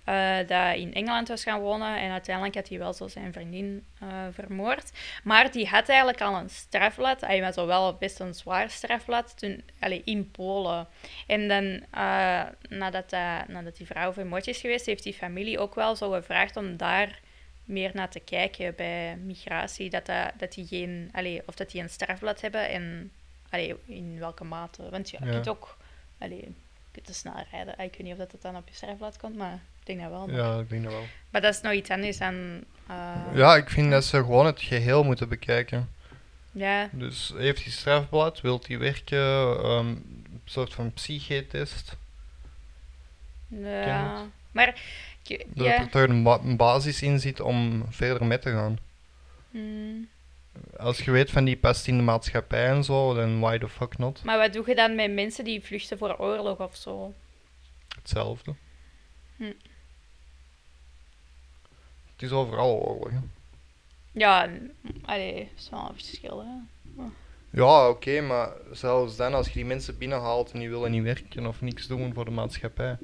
eh, dat in Engeland was gaan wonen en uiteindelijk had hij wel zo zijn vriendin eh, vermoord. Maar die had eigenlijk al een strafblad. Hij was al wel best een zwaar strafblad toen, allee, in Polen. En dan, eh, nadat, dat- nadat die vrouw vermoord is geweest, heeft die familie ook wel zo gevraagd om daar meer naar te kijken bij migratie. Dat, dat, dat die geen, allee, of dat die een strafblad hebben en allee, in welke mate. Want ja, je Ja. kunt ook allee, je kunt te snel rijden. Ah, Ik weet niet of dat dan op je strafblad komt, maar ik denk dat wel. Maar, Ja, ik denk dat wel. maar dat is nog iets anders dan... eh, Ja, ik vind dat ze gewoon het geheel moeten bekijken. ja. Dus heeft hij strafblad, wilt hij werken, ehm, een soort van psychetest. Ja, maar ik- Dat ja, er toch een, ba- een basis in zit om verder mee te gaan. mm. Als je weet van die past in de maatschappij en zo, dan why the fuck not? maar wat doe je dan met mensen die vluchten voor oorlog of zo? Hetzelfde. Hm. Het is overal oorlog. hè. Ja, n- allee, dat is wel een verschil. Hè? Ja, oké, maar zelfs dan, als je die mensen binnenhaalt en die willen niet werken of niks doen voor de maatschappij.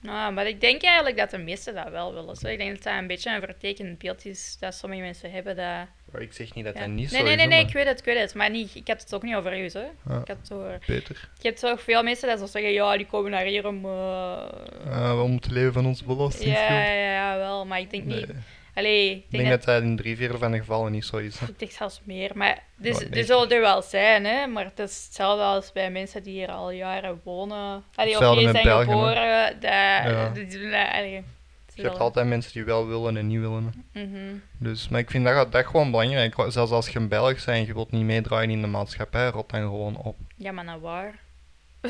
Nou, maar ik denk eigenlijk dat de meesten dat wel willen. Zo. Ik denk dat dat een beetje een vertekend beeld is dat sommige mensen hebben. Dat, Maar ik zeg niet dat ja. dat niet nee, zo nee, is. nee, hoor, nee, ik maar weet het, ik weet het. Maar niet, ik heb het ook niet over u, zo. Ja. Ik heb het over... Beter. Je hebt toch veel mensen dat zo zeggen, ja, die komen naar hier om... eh, Eh, om te leven van ons ja, belastingsgeld. ja, ja, wel, maar ik denk Nee. niet... Allee, ik Ik denk, denk dat... dat dat in drie vierde van de gevallen niet zo is. hè. Ik denk zelfs meer, maar... Dus, Ja, er nee. zullen er wel zijn, hè. Maar het is hetzelfde als bij mensen die hier al jaren wonen. Allee, of Hetzelfde hier met zijn Belgen, hè. geboren. Dat... Ja. die doen dat- allee, het is Je hebt wel- altijd mensen die wel willen en niet willen. hè. Mhm. Dus, maar ik vind dat, dat gewoon belangrijk. wa- Zelfs als je een Belg bent, je wilt niet meedraaien in de maatschappij, rot dan gewoon op. Ja, maar nou waar? I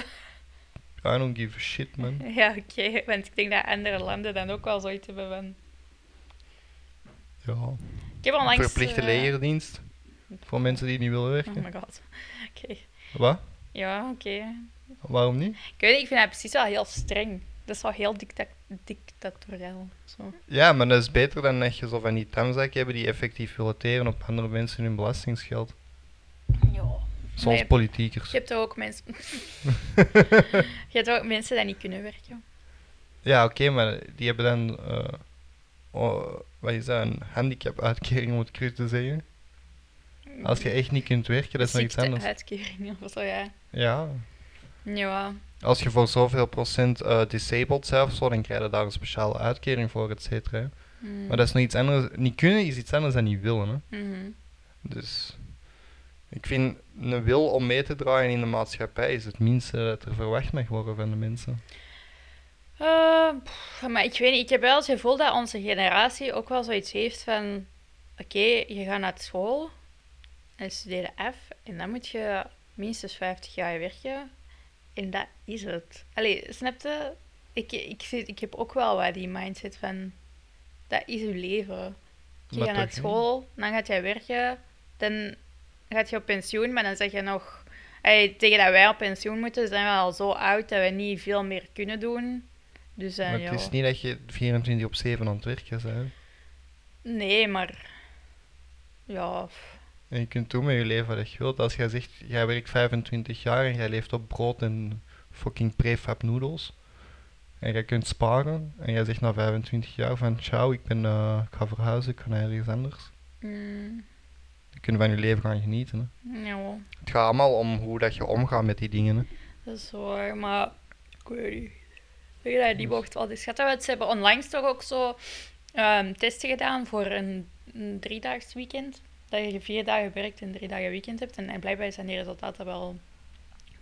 don't give a shit, man. Ja, oké. Want ik denk dat andere landen dan ook wel zoiets hebben van... Ja. Ik heb onlangs... Verplichte eh, legerdienst voor mensen die niet willen Oh werken. my god. Oké. Wat? Ja, oké. Waarom niet? Ik weet niet, ik vind dat precies wel heel streng. Dat is wel heel dicta dictatoriaal. Zo. Ja, maar dat is beter dan dat je zo van die tamzakken hebben die effectief willen teren op andere mensen hun belastingsgeld. Ja. Zoals Nee. politiekers. Je hebt toch ook mensen... je hebt ook mensen die niet kunnen werken. Ja, oké, maar die hebben dan. eh, oh, wat is dat? Een handicap-uitkering, om het cru te zeggen. Als je echt niet kunt werken, dat is nog iets anders. uitkeringen of zo, ja. Ja. Ja. Als je voor zoveel procent eh, disabled zelf zo, dan krijg je daar een speciale uitkering voor, et cetera. hè. Mm. Maar dat is nog iets anders. Niet kunnen is iets anders dan niet willen. Hè. Mhm. Dus ik vind een wil om mee te draaien in de maatschappij is het minste dat er verwacht mag worden van de mensen. Eh, pff, maar ik weet niet, ik heb wel het gevoel dat onze generatie ook wel zoiets heeft van... Oké, je gaat naar school en studeer af en dan moet je minstens 50 jaar werken. En dat is het. Allee, snap je? Ik, ik, zit, ik heb ook wel wat die mindset van... Dat is je leven. Je Maar gaat naar toch, hè? school, dan gaat jij werken, dan gaat je op pensioen, maar dan zeg je nog... Allee, tegen dat wij op pensioen moeten, zijn we al zo oud dat we niet veel meer kunnen doen. Dus dan, Maar ja. het is niet dat je 24 op 7 aan het werken bent. Nee, maar... Ja, pff, En je kunt doen met je leven wat je wilt. Als jij zegt, jij werkt 25 jaar en jij leeft op brood en fucking prefab noodles. En jij kunt sparen. En jij zegt na 25 jaar van, ciao, ik, ben, eh, ik ga verhuizen, ik ga naar ergens anders. mm, Je kunt van je leven gaan genieten. Hè. ja, Het gaat allemaal om hoe dat je omgaat met die dingen. Hè. dat is waar, maar... Ik weet niet. Ik Weet dat die bocht wel is. Gaat dat wel- Ze hebben onlangs toch ook zo ehm, testen gedaan voor een, een driedaags weekend. Dat je vier dagen werkt en drie dagen weekend hebt. En, en blijkbaar zijn die resultaten wel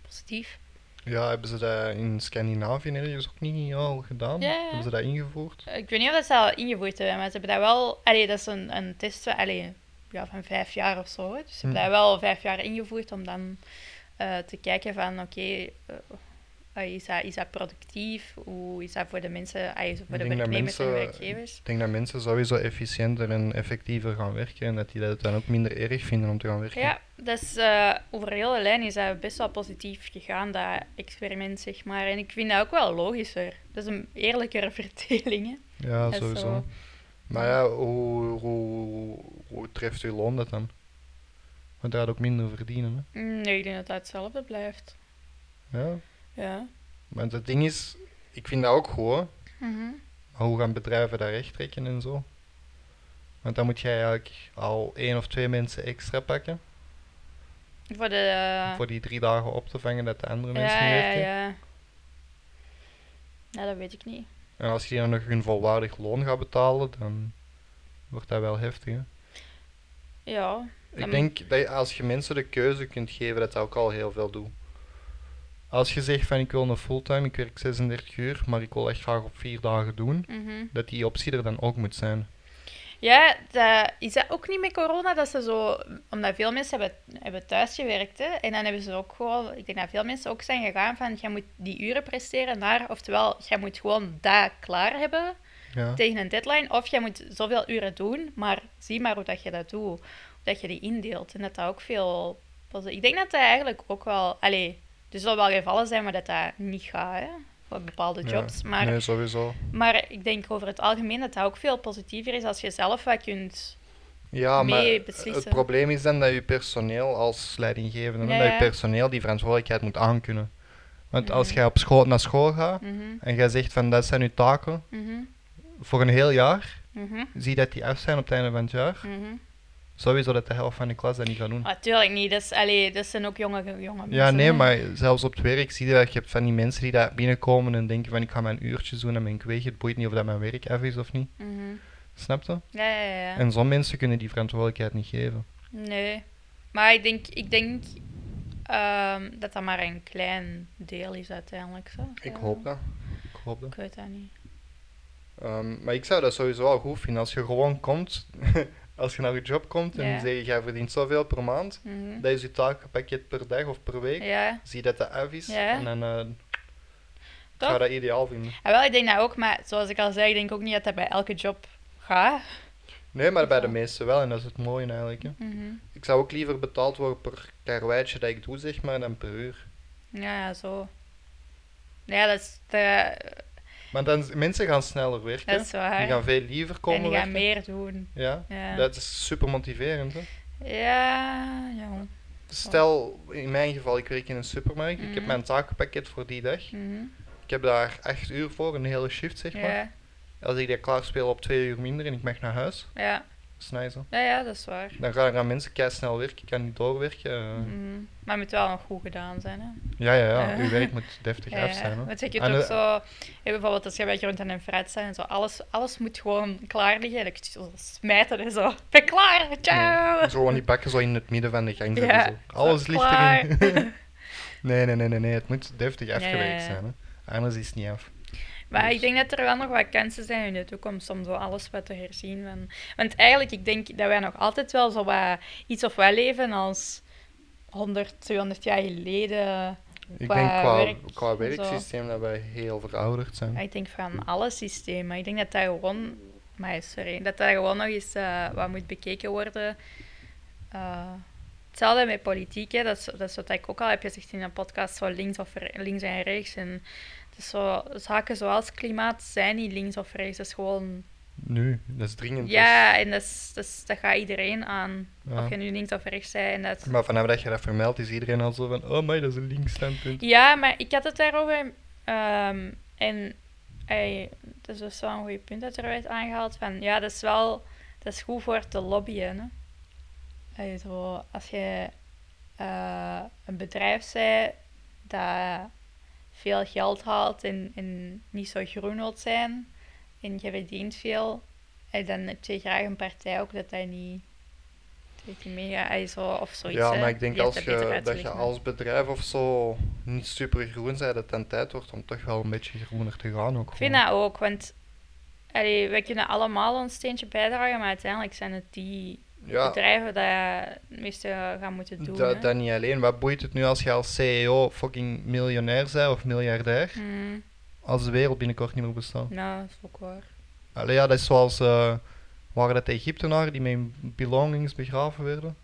positief. Ja, hebben ze dat in Scandinavië ergens ook niet al gedaan? Ja, ja. Hebben ze dat ingevoerd? Ik weet niet of dat ze al ingevoerd hebben, maar ze hebben dat wel... Allee, dat is een, een test van- allee, ja, van vijf jaar of zo. hè. Dus ze hebben Hmm. dat wel vijf jaar ingevoerd om dan eh, te kijken van, oké, eh, eh, is, dat, is dat productief? Hoe is dat voor de mensen, allee, voor de denk dat werknemers en mensen- werkgevers? Ik denk dat mensen sowieso efficiënter en effectiever gaan werken en dat die dat dan ook minder erg vinden om te gaan werken. Ja, dat is, eh, over heel de lijn is dat best wel positief gegaan, dat experiment, zeg maar. En ik vind dat ook wel logischer. Dat is een eerlijkere verdeling, hè. Ja, Dat is sowieso. zo. Maar ja, hoe, hoe, hoe treft uw loon dat dan? Want daar gaat ook minder verdienen. Hè? Mm, Nee, ik denk dat dat hetzelfde blijft. Ja. Ja. Want het ding is, ik vind dat ook goed, hè. Mhm. maar hoe gaan bedrijven daar recht trekken en zo? Want dan moet jij eigenlijk al één of twee mensen extra pakken Voor de... eh, om voor die drie dagen op te vangen dat de andere mensen ja, niet ja, werken. ja. Ja, dat weet ik niet. En als je dan nog een volwaardig loon gaat betalen, dan wordt dat wel heftig. Hè? Ja. Dan- Ik denk dat je- als je mensen de keuze kunt geven, dat dat ook al heel veel doet. Als je zegt van ik wil een fulltime, ik werk 36 uur, maar ik wil echt graag op vier dagen doen, mhm. dat die optie er dan ook moet zijn. Ja, dat, is dat ook niet met corona? Dat ze zo... Omdat veel mensen hebben, hebben thuisgewerkt, hè. En dan hebben ze ook gewoon... Ik denk dat veel mensen ook zijn gegaan van... Jij moet die uren presteren naar... Oftewel, jij moet gewoon dat klaar hebben Ja. tegen een deadline. Of jij moet zoveel uren doen, maar zie maar hoe dat je dat doet. Hoe dat je die indeelt. En dat dat ook veel... posi- Ik denk dat dat eigenlijk ook wel... Allee, er zullen wel gevallen zijn waar dat dat niet gaat, hè. Voor bepaalde Ja. jobs. Maar, Nee, sowieso. maar ik denk over het algemeen dat dat ook veel positiever is als je zelf wat kunt Ja, maar mee het beslissen. probleem is dan dat je personeel als leidinggevende, Ja, dat je ja. personeel die verantwoordelijkheid moet aankunnen. Want als Mhm. jij op school naar school gaat Mhm, en jij zegt van dat zijn uw taken mhm, voor een heel jaar, mhm, zie dat die af zijn op het einde van het jaar, mhm. sowieso dat de helft van de klas dat niet gaat doen. Natuurlijk niet. Dat, is, allee, dat zijn ook jonge, jonge mensen. Ja, nee, hè. maar zelfs op het werk zie je dat je hebt van die mensen die daar binnenkomen en denken van ik ga mijn uurtjes doen en ben ik weg, het boeit niet of dat mijn werk af is of niet. Mhm. Snap je? Ja, ja, ja, ja. En zo'n mensen kunnen die verantwoordelijkheid niet geven. Nee. Maar ik denk, ik denk ehm, dat dat maar een klein deel is uiteindelijk. Zo. Ja. dat. Ik hoop dat. Ik weet dat niet. Ehm, maar ik zou dat sowieso wel goed vinden. Als je gewoon komt, als je naar je job komt en Ja. je zegt, jij verdient zoveel per maand, Mhm. dat is je takenpakket per dag of per week. Ja, Zie dat dat af is Ja. en dan eh, ik toch? zou dat ideaal vinden. Ah, wel, ik denk dat ook, maar zoals ik al zei, ik denk ook niet dat dat bij elke job gaat. Nee, maar bij de Ja. meesten wel en dat is het mooie eigenlijk. Hè. Ik zou ook liever betaald worden per karweitje dat ik doe, zeg maar, dan per uur. Ja, ja, zo. Ja, dat is, de, Want dan, mensen gaan sneller werken. dat is waar. Die gaan veel liever komen en die gaan werken. meer doen. Ja, Ja, dat is super motiverend. Hè. ja, ja. Stel, in mijn geval, ik werk in een supermarkt. Ik heb Mhm. mijn takenpakket voor die dag. Mhm. Ik heb daar acht uur voor, een hele shift zeg maar. ja, Als ik dat klaarspeel op twee uur minder en ik mag naar huis, ja. dat is nice. hè. ja, ja, dat is waar. Dan gaan, gaan mensen kei snel werken, ik kan niet doorwerken. eh. Mhm. Maar het moet wel nog goed gedaan zijn. Hè? Ja, ja, ja. Ja. Uw werk moet deftig Ja, af zijn. Hè. want je kunt En, ook eh, zo, ja, bijvoorbeeld als je bij Groenten en fruit zijn en zo, alles, alles moet gewoon klaar liggen. En ik zo smijten en zo. Ik ben klaar, ciao! Nee, Zo aan die bakken zo in het midden van de gang. Ja, zetten, zo. Alles Zo, ligt klaar. erin. nee, nee, nee, nee, nee. Het moet deftig Ja, ja, afgewerkt ja. zijn. Hè. Anders is het niet af. Maar Dus- ik denk dat er wel nog wat kansen zijn in de toekomst om zo alles wat te herzien. Van... Want eigenlijk, ik denk dat wij nog altijd wel zo wat iets of wel leven als 100, 200 jaar geleden. Ik Qua denk qua, werk qua en werksysteem dat wij heel verouderd zijn. Maar ik denk van alle systemen. Ik denk dat dat gewoon... Maar sorry, dat dat gewoon nog eens eh, wat moet bekeken worden. Eh, hetzelfde met politiek, hè. Dat, is, dat is wat ik ook al heb gezegd in een podcast, zo links, of re- links en rechts. En het is zo, zaken zoals klimaat zijn niet links of rechts, dat is gewoon Nu, dat is dringend. dus. Ja, en dat, is, dat, is- dat gaat iedereen aan. Ja. Of je nu links of rechts bent. En dat... dus. Maar vanaf dat je dat vermeldt, is iedereen al zo van: oh, maar dat is een links standpunt. Ja, maar ik had het daarover. ehm, en ey, dat is dus wel een goed punt dat er werd aangehaald. Van, ja, dat is wel dat is goed voor te lobbyen. Hè? Ey, zo, als je eh, een bedrijf bent dat veel geld haalt en, en niet zo groen wilt zijn en je verdient veel, ey, dan heb je graag een partij ook dat dat niet. Dat je mega, ey, zo, of zoiets. ja, hè. maar ik denk Je hebt als dat beter je, dat je uitgelegd, maar- als bedrijf of zo niet super groen bent, dat het dan tijd wordt om toch wel een beetje groener te gaan. Ook Ik vind dat ook, want allee, wij kunnen allemaal ons steentje bijdragen, maar uiteindelijk zijn het die gewoon. ja, bedrijven die het meeste gaan moeten doen. dat, hè. dat niet alleen. Wat boeit het nu als je als CEO fucking miljonair bent of miljardair, Mm, als de wereld binnenkort niet meer bestaat? nou, dat is ook waar. Allee, ja, dat is zoals. eh waren dat de Egyptenaren die met hun belongings begraven werden?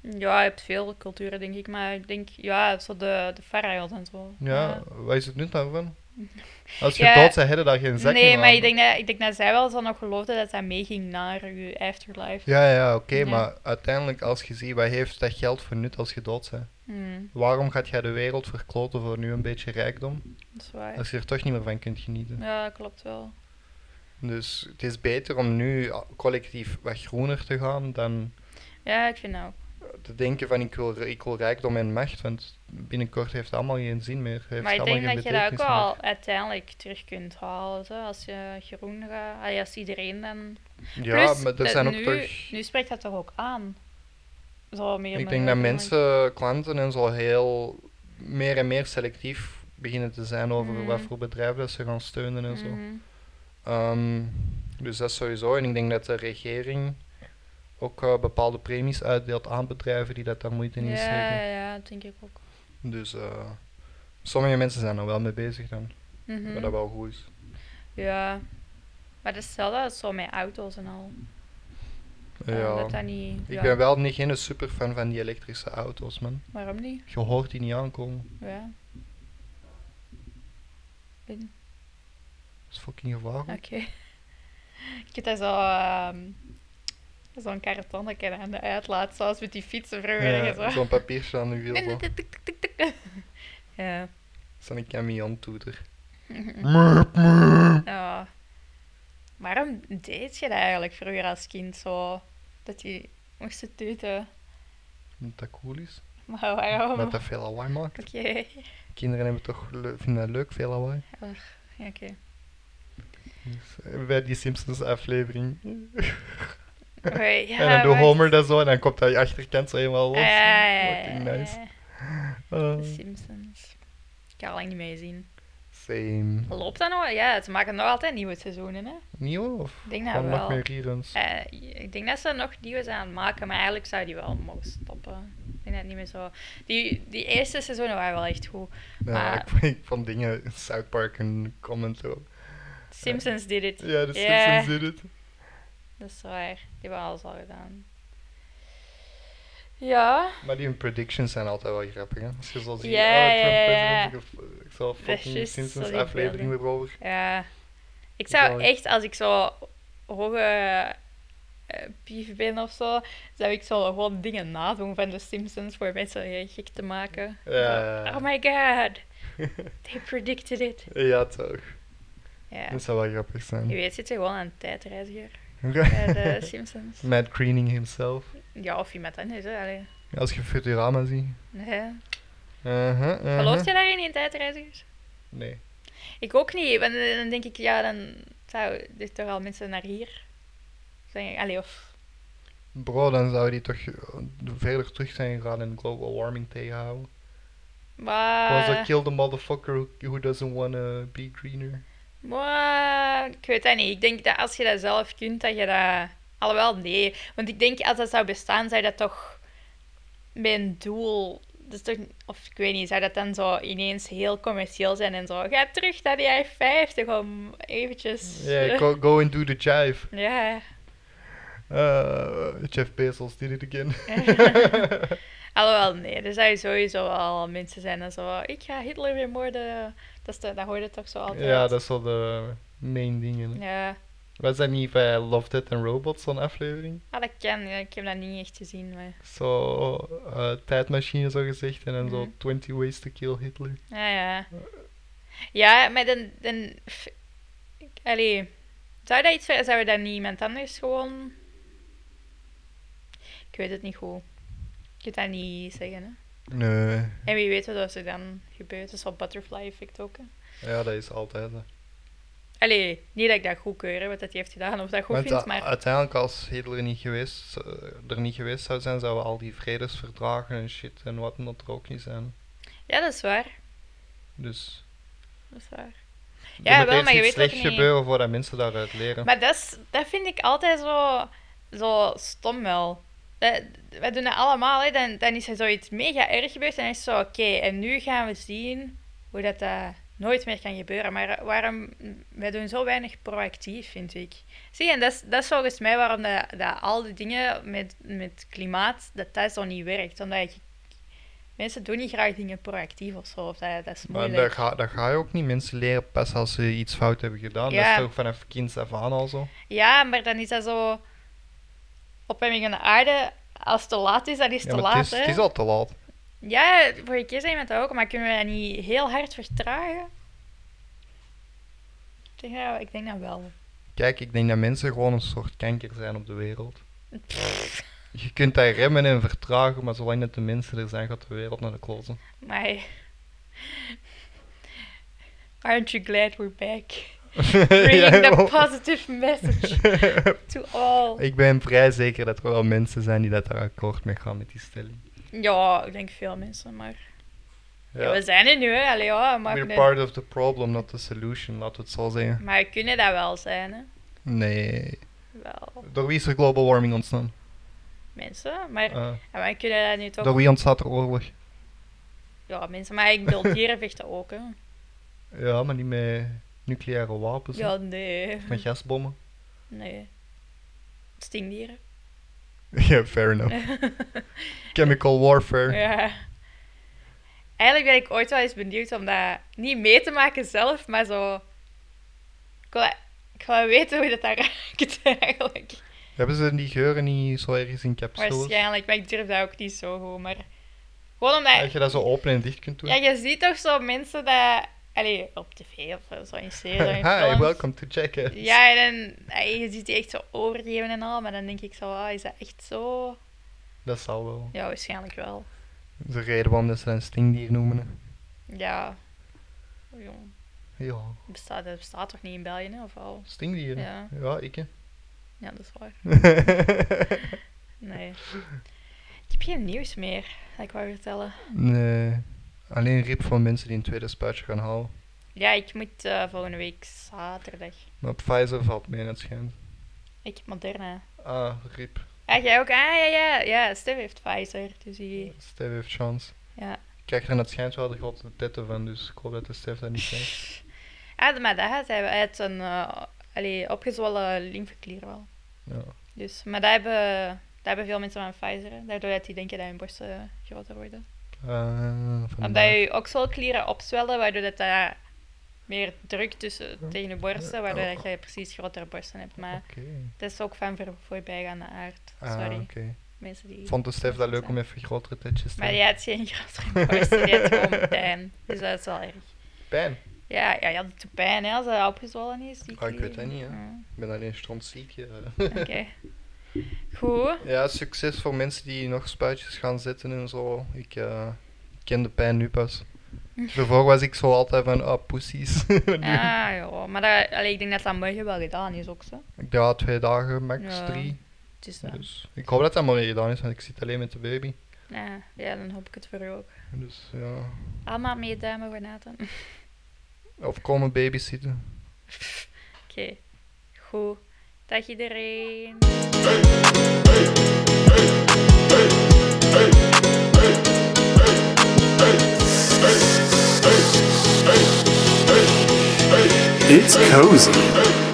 Ja, je hebt veel culturen, denk ik, maar ik denk, ja, zo de, de farao's en zo. Ja, wat is het nut daarvan? Als je Ja. dood bent, hadden daar geen zak Nee, meer maar aan. ik denk, dat, ik denk dat zij wel zo nog geloofde dat dat meeging naar je afterlife. Ja, ja, oké, Ja. maar uiteindelijk als je ziet, wat heeft dat geld voor nut als je dood bent? Mm, Waarom gaat jij de wereld verkloten voor nu een beetje rijkdom, dat is waar. als je er toch niet meer van kunt genieten? Ja, klopt wel. Dus het is beter om nu a- collectief wat groener te gaan dan Ja, ik vind dat ook. te denken van ik wil, ik wil rijkdom en macht, want binnenkort heeft het allemaal geen zin meer. Heeft Maar ik allemaal denk dat je geen dat ook betekenis meer. wel uiteindelijk terug kunt halen, zo, als je groen gaat. Allee, als iedereen dan Ja, Plus, maar er dat zijn ook nu, toch... Nu spreekt dat toch ook aan? Zo meer Ik met- denk dat met- mensen, klanten en zo heel meer en meer selectief beginnen te zijn over Mhm. wat voor bedrijven dat ze gaan steunen en zo. Mhm. Ehm, dus dat sowieso. En ik denk dat de regering ook eh, bepaalde premies uitdeelt aan bedrijven die dat daar moeite in Ja, steken. ja, ja, dat denk ik ook. Dus eh, sommige mensen zijn er wel mee bezig dan. Mhm. Wat dat wel goed is. Ja. Maar dat is hetzelfde als zo met auto's en al. Ja. Dat dat niet... Ik ja, ben wel niet geen superfan van die elektrische auto's, man. Waarom niet? Je hoort die niet aankomen. Ja. Weet niet. Dat is fucking gevaarlijk. Oké. Ik heb dat zo... ehm, Zo'n kartonnetje aan de uitlaat, zoals met die fietsen vroeger. Ja, zo. Zo'n papiertje aan de wiel. Tik, zo. tik, tik, tik, tik, tik. Ja. Dat is dan een camion-toeter. ja. Waarom deed je dat eigenlijk vroeger als kind zo? Dat je moest tuten. Dat dat cool is. Maar waarom? Dat dat veel lawaai maakt. Oké. Kinderen hebben toch le- vinden dat leuk, veel lawaai. Ja, oké. Dus, eh, bij die Simpsons-aflevering. Oké, ja, en dan doet wacht. Homer dat zo en dan komt hij achterkant zo helemaal los. Ah, ja, ja, ja, Fucking ja, ja. nice. De Ah, Simpsons. Ik kan al lang niet meer zien. same. Loopt dat nog? Ja, ze maken nog altijd nieuwe seizoenen, hè? Nieuw of? Ik denk dat Gewoon nog wel. meer reruns. Eh, ik denk dat ze nog nieuwe zijn aan het maken, maar eigenlijk zou die wel mogen stoppen. Ik denk dat niet meer zo. Die, die eerste seizoenen waren wel echt goed. Ja, maar- ik, vond- ik vond dingen, South Park en comment zo. Simpsons did it. Ja, de Ja. Simpsons did it. Dat is waar. Die hebben alles al gedaan. Ja. Maar die hun predictions zijn altijd wel grappig, hè? Als je zo ziet, Ja, oh, Trump ja, ja, ja. president, ik heb- ik zal fucking juist Simpsons wat ik aflevering wilde. weer over. Ja. Ik zou Zou- echt, als ik zo hoge eh, pief ben of zo, zou ik zo gewoon dingen nadoen van de Simpsons voor mensen eh, gek te maken. Ja, Zo, ja, ja. Oh my god, they predicted it. Ja, toch. Ja. Dat zou wel grappig Je zijn. weet, zit er gewoon aan een tijdreiziger bij de Simpsons. Matt Greening himself. Ja, of iemand anders. Hè. Allee. Als je Futurama ziet. Nee. Uh-huh, uh-huh. Geloof je daarin, in tijdreizigers? Nee. Ik ook niet, want eh, dan denk ik, ja, dan zou dit toch al mensen naar hier. Zijn, allee, of... Bro, dan zou die toch eh, verder terug zijn gegaan en global warming tegenhouden. Maar... Was dat kill the motherfucker who, who doesn't wanna be greener? Maar ik weet dat niet. Ik denk dat als je dat zelf kunt, dat je dat... Alhoewel, nee. Want ik denk, als dat zou bestaan, zou dat toch... Mijn doel... Dus toch, of ik weet niet, zou dat dan zo ineens heel commercieel zijn en zo... Ga terug naar de jaren 50 om eventjes... Yeah, go, go and do the jive. Ja. Uh, Jeff Bezos did it again. Alhoewel, nee. Er zou sowieso wel mensen zijn en zo... Ik ga Hitler weer moorden. Dat, is de, dat hoorde toch zo altijd. ja, dat is wel de main dingen. Ja. Was dat niet bij Love, Dead and Robots, zo'n aflevering? Ah, dat kan. ja, Ik heb dat niet echt gezien, maar... Zo, eh, tijdmachine zo gezegd en dan zo Mhm. 20 ways to kill Hitler. Ja, ja. Ja, maar dan... dan f- ik- allee, zou dat iets ver- Zou dat niet iemand anders gewoon... Ik weet het niet goed. Ik kan dat niet zeggen, hè. Nee. En wie weet wat er dan gebeurt. Dat is wel butterfly effect ook, hè. Ja, dat is altijd. hè. Allee, niet dat ik dat goedkeur, hè, wat dat hij heeft gedaan, of dat ik goed Want vind, a- maar... uiteindelijk, als Hitler niet geweest, eh, er niet geweest zou zijn, zouden al die vredesverdragen en shit en wat dan er ook niet zijn. Ja, dat is waar. Dus Dat is waar. er Ja, moet wel, eerst maar je iets weet ook slecht niet- gebeuren voordat mensen daaruit leren. Maar dat, is, dat vind ik altijd zo, zo stom wel. Dat, wij doen dat allemaal, hè. Dan, dan is er zoiets mega erg gebeurd en dan is het zo, oké, en nu gaan we zien hoe dat, dat nooit meer kan gebeuren. Maar waarom, wij doen zo weinig proactief, vind ik. Zie, en dat is, dat is volgens mij waarom dat, dat al die dingen met, met klimaat, dat dat zo niet werkt. Omdat je, mensen doen niet graag dingen proactief of zo, of dat, dat is Maar moeilijk. daar ga, daar ga je ook niet mensen leren pas als ze iets fout hebben gedaan. Ja. Dat is toch vanaf kinds af aan al zo. Ja, maar dan is dat zo. Opwarming van de aarde, als het te laat is, dan is het ja, te maar laat. het, is, hè? het is al te laat. Ja, vorige keer zei iemand dat ook, maar kunnen we dat niet heel hard vertragen? Ik denk dat, ik denk dat wel. Kijk, ik denk dat mensen gewoon een soort kanker zijn op de wereld. Je kunt dat remmen en vertragen, maar zolang dat de mensen er zijn, gaat de wereld naar de klozen. Maar. Aren't you glad we're back? Ja, oh. Bringing the joh. positive message to all. ik ben vrij zeker dat er wel mensen zijn die dat daar akkoord mee gaan met die stelling. Ja, ik denk veel mensen, maar. Ja, Ja. we zijn er nu, hè? Allee, ja, maar, We're part of the problem, not the solution, laten we het zo zeggen. maar we kunnen dat wel zijn, hè? Nee. Wel. Door wie is er global warming ontstaan? Mensen, maar. Eh, Ja, maar kunnen dat nu toch... door wie ontstaat er oorlog? Ja, mensen, maar ik bedoel, dieren vechten ook, hè. Ja, maar niet met nucleaire wapens. hè. Ja, nee. Met gasbommen. Nee. Stingdieren. Ja, fair enough. Chemical warfare. Ja. Eigenlijk ben ik ooit wel eens benieuwd om dat niet mee te maken zelf, maar zo... Ik wil, ik wil weten hoe dat daar ruikt, eigenlijk. Hebben ze die geuren niet zo ergens in capsules? Waarschijnlijk, maar ik durf dat ook niet zo goed. Maar gewoon omdat... Dat je dat zo open en dicht kunt doen? Ja, je ziet toch zo mensen dat... Allee, op tv of zo in series of in Hi, films. welcome to check it. Ja, en dan, ey, je ziet die echt zo overgeven en al, maar dan denk ik zo, ah, is dat echt zo? Dat zal wel. Ja, waarschijnlijk wel. Dat is de reden waarom dat ze een stingdier noemen. hè. Ja. Jong, Ja, dat bestaat, dat bestaat toch niet in België, hè, of wel? stingdieren. Ja. ik hè. Ja, dat is waar. Nee. Ik heb geen nieuws meer, dat ik wou vertellen. nee. Alleen rip van mensen die een tweede spuitje gaan halen. Ja, ik moet eh, volgende week zaterdag. Maar Pfizer valt mee, het schijnt. Ik heb Moderna. Ah, rip. Ah, jij ook? Ah, ja, ja. Ja, Steve heeft Pfizer, dus die... Stef heeft chance. Ja. Ik krijg er aan het schijnt wel de grote tetten van, dus ik hoop dat de Stef dat niet krijgt. Ah, maar dat had hij hij had een eh, allee, opgezwollen lymfeklier wel. Ja. Dus, maar daar hebben, dat hebben veel mensen van Pfizer. hè. Daardoor dat die denken dat hun borsten groter worden. Ah, Omdat vandaar. je okselklieren opzwellen, waardoor dat daar meer druk tussen, tegen je borsten, waardoor dat je precies grotere borsten hebt. Maar Oké. dat is ook van voor, voorbijgaande aard. Ah, Sorry, oké. mensen die... Vond de Stef dat leuk om even grotere tetjes te Maar die hebben? had geen grotere borsten, die had gewoon pijn. Dus dat is wel erg. Pijn. Ja, ja, ja dat doet pijn hè, als dat opgezwollen is. die Ah, ik weet klier. dat niet, hè. Ja, Ik ben alleen strontziek. Ja. Oké. Goed. ja, succes voor mensen die nog spuitjes gaan zetten en zo. Ik eh, ken de pijn nu pas. Daarvoor was ik zo altijd van, ah, pussies. Nu- Ah, ja. Maar dat, allee, ik denk dat dat morgen wel gedaan is ook, zo. Ik ja, twee dagen, max Ja. drie. Het is, eh, Dus ik hoop dat dat maar weer gedaan is, want ik zit alleen met de baby. ja, Ah, ja, dan hoop ik het voor u ook. Dus ja, Allemaal meeduimen voor Nathan. Oké, of komen babysitten. goed. Dag iedereen. It's cozy.